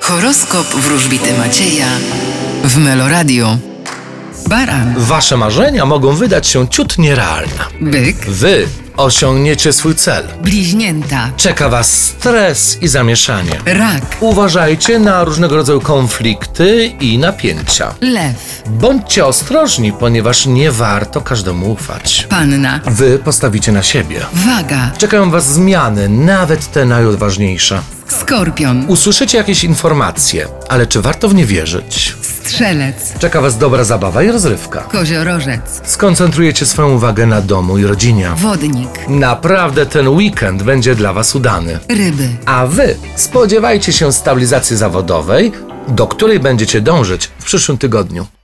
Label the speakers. Speaker 1: Horoskop wróżbity Macieja w Meloradio. Baran,
Speaker 2: Wasze marzenia mogą wydać się ciut nierealne.
Speaker 1: byk,
Speaker 2: Wy osiągniecie swój cel.
Speaker 1: bliźnięta,
Speaker 2: Czeka Was stres i zamieszanie.
Speaker 1: rak,
Speaker 2: Uważajcie na różnego rodzaju konflikty i napięcia.
Speaker 1: lew,
Speaker 2: Bądźcie ostrożni, ponieważ nie warto każdemu ufać.
Speaker 1: panna,
Speaker 2: Wy postawicie na siebie.
Speaker 1: waga,
Speaker 2: Czekają Was zmiany, nawet te najodważniejsze.
Speaker 1: skorpion,
Speaker 2: Usłyszycie jakieś informacje, ale czy warto w nie wierzyć?
Speaker 1: strzelec,
Speaker 2: Czeka Was dobra zabawa i rozrywka.
Speaker 1: koziorożec,
Speaker 2: Skoncentrujecie swoją uwagę na domu i rodzinie.
Speaker 1: wodnik,
Speaker 2: Naprawdę ten weekend będzie dla Was udany.
Speaker 1: ryby,
Speaker 2: A Wy spodziewajcie się stabilizacji zawodowej, do której będziecie dążyć w przyszłym tygodniu.